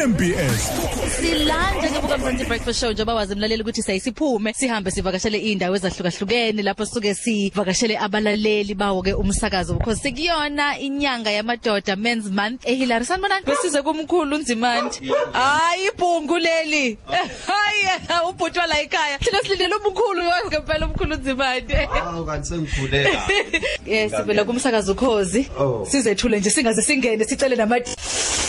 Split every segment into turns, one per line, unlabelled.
VMBS
silanje ngebuka mzansi breakfast show njengoba wazi mlaleli ukuthi sayisiphume sihambe sivakashele indawo ezahlukahlukene lapho sisuke sivakashele abalaleli bawo ke umsakazo because sikuyona inyanga yamadoda men's month ehilary sanibonani besize kumkhulu unzimandi hayi ibhungu leli hayi ubhutwa la ekhaya thina silindele umkhulu wonke phela umkhulu unzimandi
Awu kanti sengikhulela.
Eh sivela kumsakazo ukhozi
Oh.
sizethule nje singaze singene sicele nama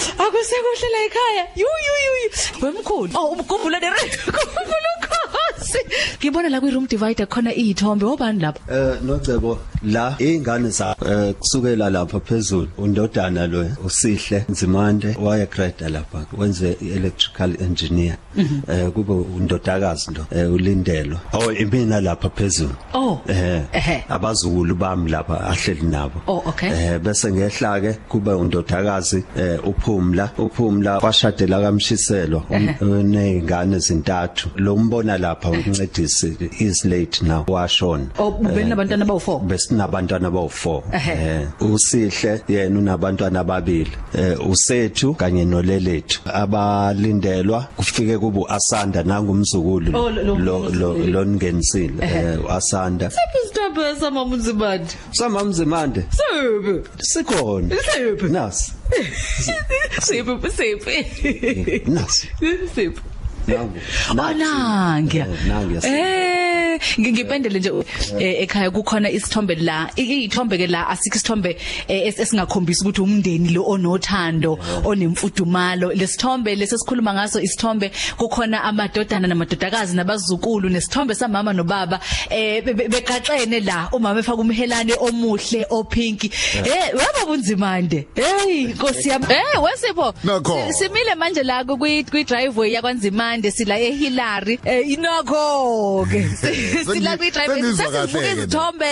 Akusekuhle la ekhaya yu yu yu yu. wemkhulu oh umgumbula ne red umgumbula ukhozi ngibona la kwi room divider khona izithombe obani lapha
Eh nocebo la ingane za eh, kusukela lapha phezulu undodana lo usihle Nzimande waye grade lapha wenze electrical engineer. Eh kube undodakazi ndo eh, ulindelwa. Oh imina lapha phezulu.
Oh. Ehhe.
Eh abazukulu bami lapha ahleli nabo.
Oh, okay.
Eh bese ngehla ke kuba undodakazi eh, uphumla uphumla washadela kamshiselwa unezingane zintathu. Lo mbona lapha umncedisi is late now washona.
oh ubeni nabantwana bawu4
besinabantwana abawu4
Ehhe.
eh usihle yena unabantwana ababili eh usethu kanye nolelethu abalindelwa kufike kubu asanda nangumzukulu
Oh, lo- lo-
lo lo-
lo-
longenisile eh asanda
Stop sama muzibandi
samamzimande
Sebu
sikhona
Isiphi?
nasi
sebu sebu
Eh, nasi
sebu
nangu
Oh, Nange.
Eh, nangu yasi
Eh ngingipendele nje eh, ekhaya kukhona isithombe la I- izithombe ke la asikho isithombe eh, es- esingakhombisa ukuthi umndeni lo onothando onemfudumalo lesithombe lesesikhuluma ngaso isithombe kukhona amadodana namadodakazi nabazukulu nesithombe samama nobaba eh be- be- begaxene la umama efaka umhelane omuhle opinki eh waba bunzimande hey nkosi yami eh wesipho
Nakho.
Si- simile manje la ku- kwi kwi driveway yakwanzimande sila eHillary eh inakho ke Si- sila kwi driveway
sengizwa
sasibuka
kahle-ke
izithombe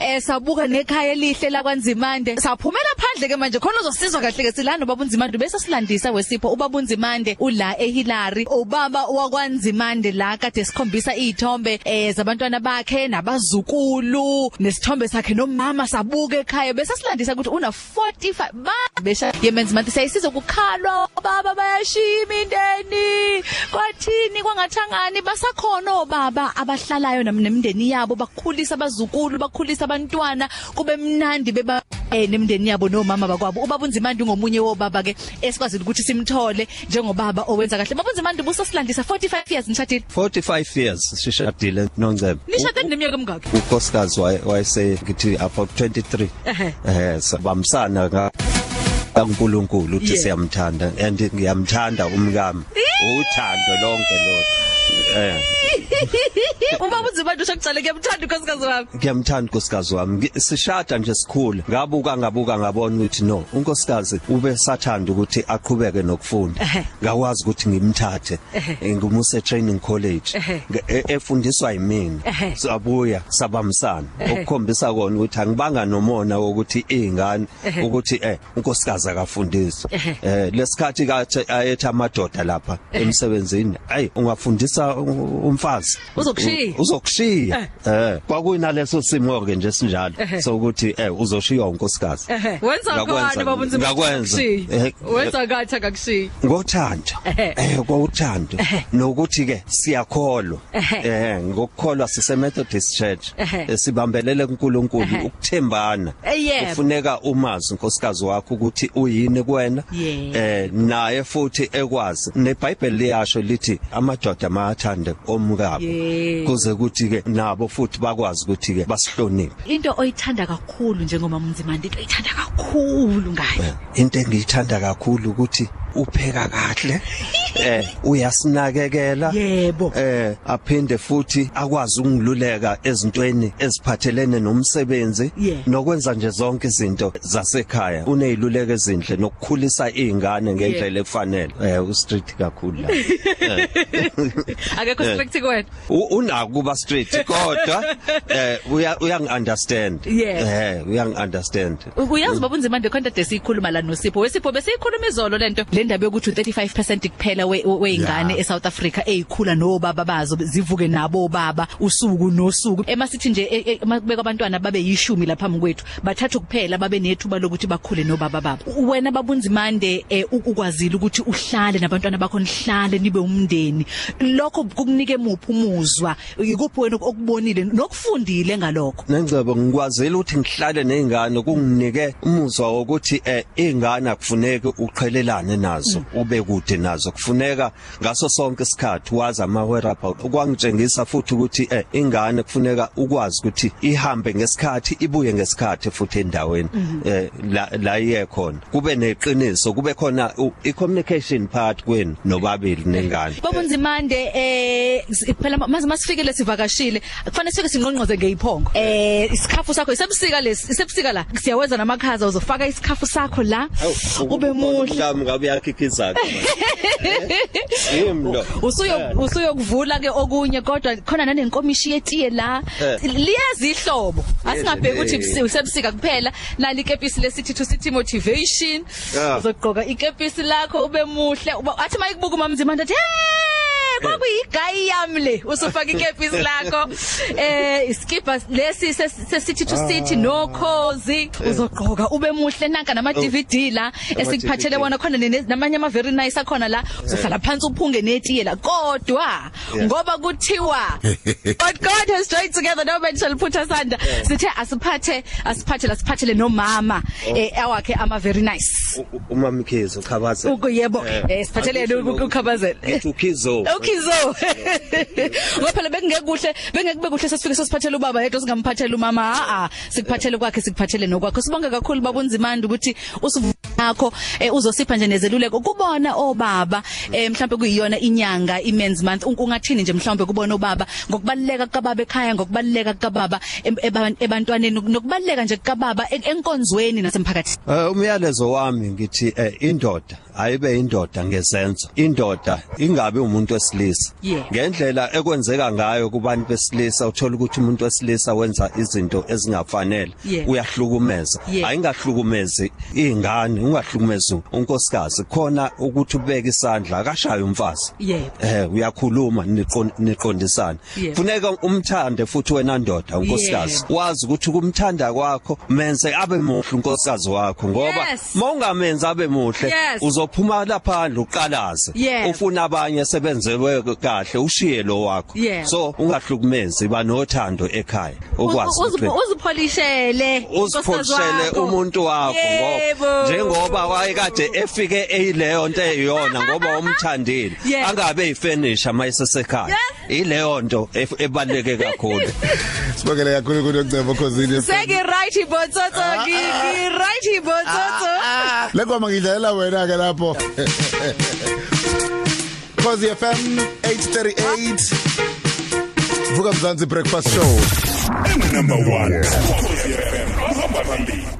eh sabuka nekhaya elihle lakwanzimande saphumela phandle ke manje khona uzosizwa kahle ke silana babunzimande bese silandisa wesipho ubabunzimande ula eHillary ubaba wakwanzimande la kade sikhombisa izithombe eh zabantwana bakhe nabazukulu nesithombe sakhe nomama sabuka ekhaya bese silandisa ukuthi una 45 ba besha yemen's month sayisiza ukukhalwa baba bayashima indeni kwathini kwangathangani basakhona obaba abahlalayo nam- nemindeni yabo bakhulisa abazukulu bakhulisa abantwana kube mnandi beba eh nemndeni yabo nomama bakwabo ubabunzimandi ngomunye wobaba ke esikwazile ukuthi simthole njengobaba owenza kahle babunzimandi busasilandisa 45 years nishadile
45 years sishadile nongcebo
nishade neminyaka emingaki
ukhosikazi waye- wayese ngithi about 23 eh sabamsana ka kaNkuluNkulu uthi
Yeah.
siyamthanda and ngiyamthanda umkami uthando lonke lo eh
ubabunzimandi ushakucala kuyamthanda ukhosikazi wami
ngiyamthanda unkosikazi wami Ngi- sishada nje sikhule ngabuka ngabuka ngabona ukuthi no unkosikazi ube sathanda ukuthi aqhubeke nokufunda
Ehhe.
ngawazi ukuthi ngimthathe Eh, ngimuse training college
Ehhe.
Nge- e- efundiswa yimina
Ehhe.
sabuya sabamsana
Ehhe.
ukukhombisa kona ukuthi angibanga nomona wokuthi izingane
Ehhe.
ukuthi eh unkosikazi akafundisi
Ehhe.
eh lesikhathi kathi ayethe amadoda lapha emsebenzini hey ungafundisa u- umfazi
Uzokushiya.
U- uzokushiya
Eh.
eh kwakuyinaleso simo ke nje sinjalo
Ehhe.
sokuthi eh uzoshiywa unkosikazi
Ehe, wenza
Ngakwenza-
ngani babunzima?
ngakwenza.
Akukushiyi.
Ehe.
Wenza ngathi akakushiyi.
ngothando
Ehhe.
eh kwauthando
Ehhe.
nokuthi ke siyakholwa
Ehhe.
eh ngokukholwa sise Methodist Church
Ehhe.
Eh, sibambelele kuNkulunkulu
Ehhe.
ukuthembana
Eh, yebo.
ufuneka umazi unkosikazi wakho ukuthi uyini kuwena
Yebo.
eh naye futhi ekwazi neBhayibheli liyasho lithi amadoda mayathande omkabo
Yebo.
kuze ukuthi ke nabo futhi bakwazi ukuthi ke basihloniphe
into oyithanda kakhulu njengomama umzimande into oyithanda kakhulu ngayo
into engiyithanda kakhulu ukuthi upheka kahle eh uyasinakekela
Yebo.
eh aphinde futhi akwazi ungiluleka ezintweni eziphathelene nomsebenzi
Yeah.
nokwenza nje zonke izinto zasekhaya uneziluleko ezinhle nokukhulisa izingane ngendlela efanele eh uStreet kakhulu la
akekho strict kuwena
U- unako kuba straight kodwa eh uya uyangiunderstand
Yeah.
eh uyangiunderstand
U- uyazi babunzimande khonta desikhuluma la nosipho wesipho besiyikhuluma izolo lento le lendaba yokuthi 35% kuphela we- we- weingane
Yeah.
eSouth Africa ezikhula nobaba bazo zivuke nabo baba usuku nosuku emasithi nje e- e- makubekwa abantwana babe yishumi laphambi kwethu bathatha kuphela babe nethuba lokuthi bakhule nobaba babo wena babunzimande eh, ukwazile ukuthi uhlale nabantwana bakho nihlale nibe umndeni lokho kukunike muphi umuzwa ikuphi wena okubonile nokufundile ngalokho
Nengcebo ngikwazela ukuthi ngihlale nezingane kunginike umuzwa wokuthi eh izingane akufuneki uqhelelane nazo ube kude nazo kufuneka ngaso sonke isikhathi wazi amawhereabout okwangitshengisa futhi ukuthi eh ingane kufuneka ukwazi ukuthi ihambe ngesikhathi ibuye ngesikhathi futhi endaweni eh la la iye khona kube neqiniso kube khona u- i-communication part kweni nobabili nengane
babunzimande eh s- phela ma- maze masifikele sivakashile kufanele sifike sinqonqoze ngeyiphongo eh isikhafu sakho isebusika lesi isebusika la siyawenza namakhaza uzofaka isikhafu sakho la ube muhle
mhlawumbe ngabe uyakhikhiza Simlo Eh,
usuyo usuyokuvula ke okunye kodwa khona nanenkomishi yetiye la
Eh.
liyazihlobo asingabheki ukuthi
eh.
busi- usebusika kuphela nali ikepisi lesithu sithi motivation
Yeah.
uzogqoka ikepisi lakho ube muhle uba- athi mayikubuka umamzimanda athi "Hey, kwakuyigayi yami le usufaka ikepisi lakho eh iskipa lesi ses- sesithi to sithi no cause uzogqoka ube muhle nanka nama DVD la esikuphathele
DVD.
wona khona ne- ne- namanye ama very nice akhona la uzohlala phansi uphunge netiye la kodwa
Yeah.
ngoba kuthiwa but God has joined together no man shall put us under sithe asiphathe asiphathe lasiphathele nomama
Oh.
eh awakhe ama very nice
umamkhezo khabaza
ukuyebo
Eh.
eh siphathelele
Angithi lo-
ukukhabazela
ngithi ukhizo
Okhizo. Oh, Ngoba phela bengekuhle, bengekube kuhle sesifike sosiphathele ubaba yedwa singamphathele umama. Ha, sikuphathele kwakhe, sikuphathele nokwakho. Sibonge kakhulu babunzimanda ukuthi usivakho eh, uzosipha nje nezeluleko kubona obaba eh, mhlawumbe kuyiyona inyanga i-men's month. Un- Ungathini nje mhlawumbe kubona obaba ngokubaleka kababa ekhaya, ngokubaleka kababa em- eba- ebantwaneni nokubaleka nje kababa enkonzweni nasemphakathini.
Eh umyalezo wami ngithi eh, indoda ayibe indoda ngezenzo indoda ingabe umuntu wesilisa
Yeah.
ngendlela ekwenzeka ngayo kubantu besilisa uthola ukuthi umuntu wesilisa wenza izinto ezingafanele
Yeah.
uyahlukumeza
Yeah.
ayingahlukumezi ingane ungahlukumezi unkosikazi khona ukuthi ubeke isandla akashaye umfazi
Yebo.
eh uyakhuluma niqon- niqondisana
Yeah.
kufuneka umthande futhi wena ndoda unkosikazi wazi ukuthi kumthanda kwakho menze abe muhle unkosikazi wakho ngoba
Yes.
mawungamenza abe muhle
Yes.
uzophuma laphandle uqalaze
Yebo.
ufuna abanye sebenzelwe kahle ushiye lo wakho
Yebo.
so ungahlukumezi banothando ekhaya ukwazi ukuthi-
Uzipo- uzipholishele
uziphoshele
inkosikazi wakho.
umuntu wakho ngoba
Yebo.
njengoba wayekade efike eyileyo nto eyiyona ngoba umthandile
Yes.
angabe yifurniture mayisesekhaya ileyo nto ef- ebaluleke kakhulu
Sibongeleka kakhulu kunocebo cause
Seki right
Ah,
ibotsotso ngiki right ibotsotso
Lekoma ngidlalela wena ke lapho. Cause FM 838 Vuka Mzansi breakfast show.
Number 1 Ukhosi FM uhamba phambili